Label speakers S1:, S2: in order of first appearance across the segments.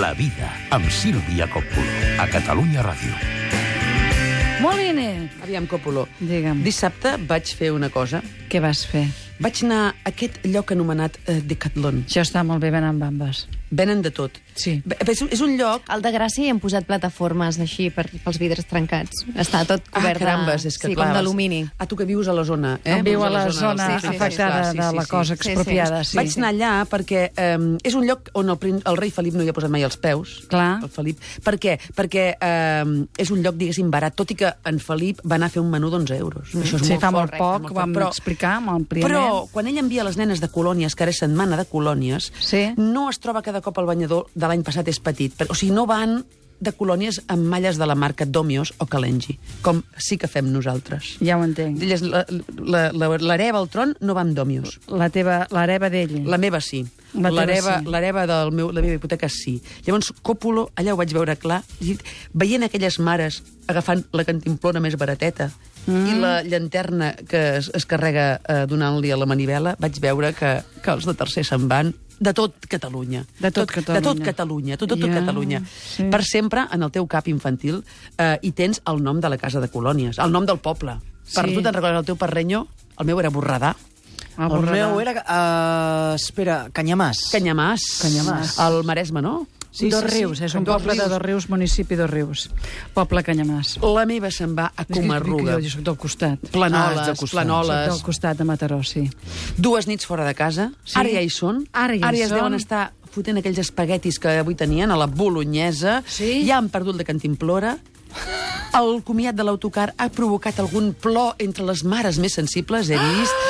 S1: La vida amb Sílvia Coppolo a Catalunya Ràdio.
S2: Molt bé, Inés.
S3: Aviam, Copoló.
S2: Digue'm.
S3: Dissabte vaig fer una cosa.
S2: Què vas fer?
S3: Vaig anar a aquest lloc anomenat eh, Decathlon.
S2: Això està molt bé venant bambes.
S3: Venen de tot.
S2: Sí.
S3: Bé, És, un- és un lloc...
S4: Al de Gràcia hi han posat plataformes així per, pels vidres trencats. Està tot
S3: Ah,
S4: cobert
S3: carambes,
S4: de...
S3: és que
S4: sí,
S3: clar,
S4: com
S3: vas-
S4: d'alumini.
S3: Ah, tu que vius a la zona, eh?
S2: Eh? Viu a la
S3: del
S2: zona sí,
S4: sí,
S2: sí,
S3: centre,
S4: sí,
S2: afectada
S3: clar,
S2: sí, sí, de la cosa
S4: sí.
S2: expropiada. Sí, sí.
S3: Vaig anar allà perquè eh, és un lloc on el, prin- el rei Felip no hi ha posat mai els peus.
S2: Clar.
S3: El Felip. Per què? Perquè eh, és un lloc, diguéssim, barat, tot i que en Felip va anar a fer un menú d'11 euros. Mm. Això és
S2: Sí,
S3: molt
S2: fa
S3: fort,
S2: molt poc,
S3: molt
S2: ho
S3: fort,
S2: vam explicar amb el primer.
S3: Però quan ell envia les nenes de colònies, que ara és setmana de colònies,
S2: Sí.
S3: no es troba cada cop el banyador de l'any passat és petit. Per- O sigui, no van de colònies amb malles de la marca Domios o Calengi, com sí que fem nosaltres.
S2: Ja ho entenc.
S3: Elles, la- la- la- L'hereva al tron no va amb Domios.
S2: La teva, l'hereva d'ell.
S3: La meva sí.
S2: La teva
S3: L'hereva
S2: sí.
S3: l'hereva del meu, la meva hipoteca sí. Llavors, Còpolo, allà ho vaig veure clar, i veient aquelles mares agafant la cantimplona més barateta mm. i la llanterna que es, es carrega eh, donant-li a la manivela, vaig veure que, que els de tercer se'n van de tot Catalunya.
S2: De tot Catalunya.
S3: De tot Catalunya, tot, tot, tot
S2: Ja,
S3: Catalunya.
S2: sí.
S3: Per sempre, en el teu cap infantil, eh, hi tens el nom de la casa de colònies, el nom del poble. Per
S2: Sí.
S3: tu te'n recordes el teu perrenyo? El meu era Borredà.
S2: Ah,
S5: El
S2: Borredà.
S5: meu era... Uh, espera, Canyamàs.
S3: Canyamàs.
S5: Canyamàs.
S3: El Maresme, no? eh?
S5: Sí,
S2: Dos
S5: sí, sí.
S2: Rius, és un
S5: Dos
S2: poble de
S5: Rius.
S2: Dos Rius, municipi de Dos Rius. Poble Canyamàs.
S3: La meva se'n va a
S2: És que-
S3: Comarruga.
S2: Jo, jo soc del costat.
S3: Planoles,
S5: Ah, ets del costat.
S2: Soc del
S3: planoles.
S2: costat de Mataró, sí.
S3: Dues nits fora de casa.
S2: Sí.
S3: Sí. Ara ja hi són.
S2: Ara ja hi
S3: Ara ja es
S2: són.
S3: deuen estar fotent aquells espaguetis que avui tenien a la bolonyesa.
S2: Sí.
S3: Ja han perdut la cantimplora. El comiat de l'autocar ha provocat algun plor entre les mares més sensibles, he vist.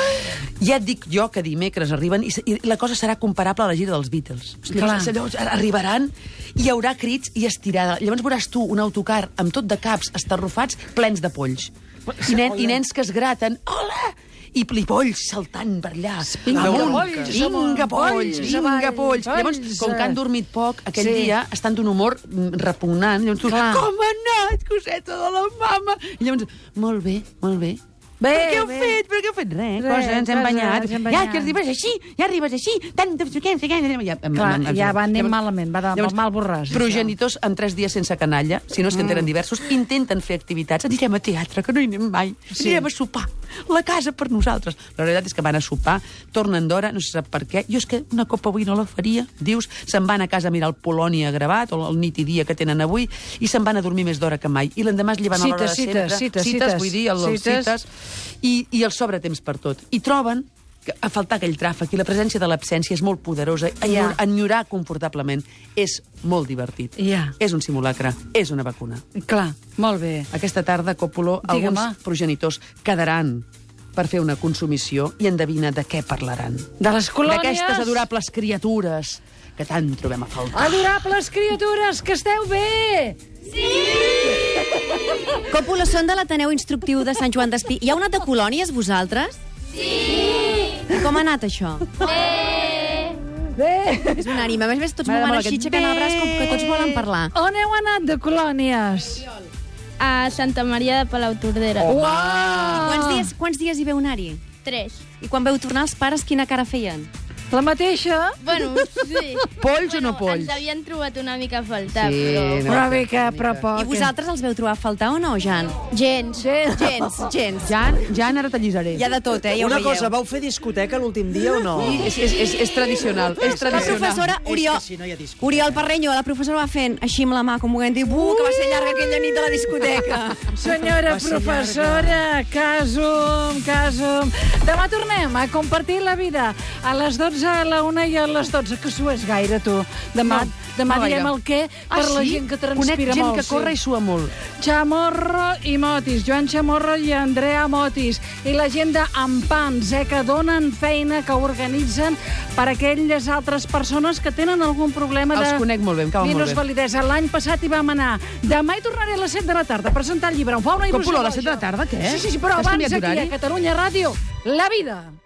S3: Ja et dic jo que dimecres arriben i, se- i la cosa serà comparable a la gira dels Beatles. O sigui,
S2: Clar.
S3: Llavors, llavors arribaran, hi haurà crits i estirada. Llavors veuràs tu un autocar amb tot de caps estarrufats plens de polls. I, nen, i nens que es graten. Hola! I pli- polls saltant per allà.
S2: Vinga,
S3: amunt,
S2: polls,
S3: vinga,
S2: avall,
S3: polls,
S2: polls,
S3: vinga,
S2: avall,
S3: polls. Llavors,
S2: polls,
S3: com que
S2: eh.
S3: han dormit poc, aquell
S2: Sí.
S3: dia estan d'un humor mm, repugnant. Llavors tu,
S2: Clar.
S3: com ha anat, coseta de la mama? I llavors, molt bé, molt bé.
S2: Bé,
S3: per què heu
S2: bé.
S3: fet? Per què heu fet? Res,
S2: Res,
S3: cosa, ens hem
S2: res,
S3: banyat.
S2: ens hem
S3: Ja,
S2: banyat.
S3: que arribes així, ja arribes així, tant de... Ja, ja,
S2: Clar, ja
S3: mm,
S2: va anem malament, va de- mal borràs, Mm. això.
S3: Progenitors amb tres dies sense canalla, si no és que en tenen diversos, intenten fer activitats. Anirem a teatre, que no hi anem mai. Sí. Anirem a sopar. La casa per nosaltres. La realitat és que van a sopar, tornen d'hora, no se sap per què. Jo és que una copa avui no la faria. Dius, se'n van a casa a mirar el Polònia gravat, o el nit i dia que tenen avui, i se'n van a dormir més d'hora que mai. I l'endemà es lleven a l'hora de
S2: Cites, cites,
S3: sempre.
S2: cites, cites.
S3: cites, vull dir, el, els
S2: Cites.
S3: cites coses i, i el sobretemps per tot. I troben que a faltar aquell tràfic i la presència de l'absència és molt poderosa.
S2: Ja.
S3: Yeah. Enyorar confortablement és molt divertit.
S2: Ja.
S3: És un simulacre, és una vacuna.
S2: Clar, molt bé.
S3: Aquesta tarda, Còpolo,
S2: Digue'm,
S3: alguns
S2: va.
S3: progenitors quedaran per fer una consumició i endevina de què parlaran.
S2: De les colònies...
S3: D'aquestes adorables criatures que tant trobem a faltar.
S2: Adorables criatures, que esteu bé!
S4: Còpula, són de l'Ateneu Instructiu de Sant Joan d'Espí. Hi ha una de colònies, vosaltres? Sí! I com ha anat això?
S2: Bé!
S4: És unànime. A més, a més tots
S2: M'agrada
S4: movent
S2: molt
S4: així,
S2: aquest
S4: aixecant el braç, com que tots volen parlar.
S2: On heu anat de colònies?
S6: A Santa Maria de Palau Tordera.
S3: Oh.
S2: Uau!
S4: Quants dies, quants dies hi veu anar-hi?
S6: Tres.
S4: I quan veu tornar els pares, quina cara feien?
S2: La mateixa?
S6: Bueno, sí.
S3: Polls o no
S6: Bueno,
S3: polls?
S6: Ens havien trobat una mica a faltar,
S3: Sí,
S6: però...
S3: no.
S2: Però bé Oh, que, però poc.
S4: I vosaltres els veu trobar a faltar o no, Jan?
S6: Gens.
S2: Gens.
S4: Gens, gens.
S3: Jan, Jan, ara t'allisaré.
S4: Hi ha de tot, eh? Ja ho
S5: Una
S4: veieu.
S5: cosa, vau fer discoteca l'últim dia o no?
S3: És, és, és, és tradicional, és
S4: La
S3: tradicional.
S4: professora
S5: És que
S4: Oriol,
S5: si no hi ha discoteca.
S4: Oriol Parreño, la professora va fent així amb la mà, com volent dir, buh, que va ser llarga aquella nit de la discoteca.
S2: Senyora
S5: Va ser llarga.
S2: professora, casum, casum. Demà tornem a compartir la vida a les 12, a la 1 i a les 12, que s'ho és gaire, tu. Demà,
S3: No,
S2: demà
S3: no gaire.
S2: diem el què per la gent que transpira
S3: ah, Conec gent
S2: molt.
S3: que corre i sua molt.
S2: Chamorro i Motis, Joan Chamorro i Andrea Motis, i la gent d'Empans, eh, que donen feina, que organitzen per a aquelles altres persones que tenen algun problema
S3: Els
S2: de...
S3: conec molt bé, em cauen molt bé.
S2: minusvalidesa. L'any passat hi vam anar. Demà hi tornaré a les 7 de la tarda a presentar el llibre. Em fa una il·lusió.
S3: Còpolo, a les
S2: això.
S3: set de la tarda, què?
S2: Sí, sí, sí, però
S3: Has
S2: abans
S3: canviat
S2: aquí
S3: d'horari?
S2: a Catalunya Ràdio, la vida.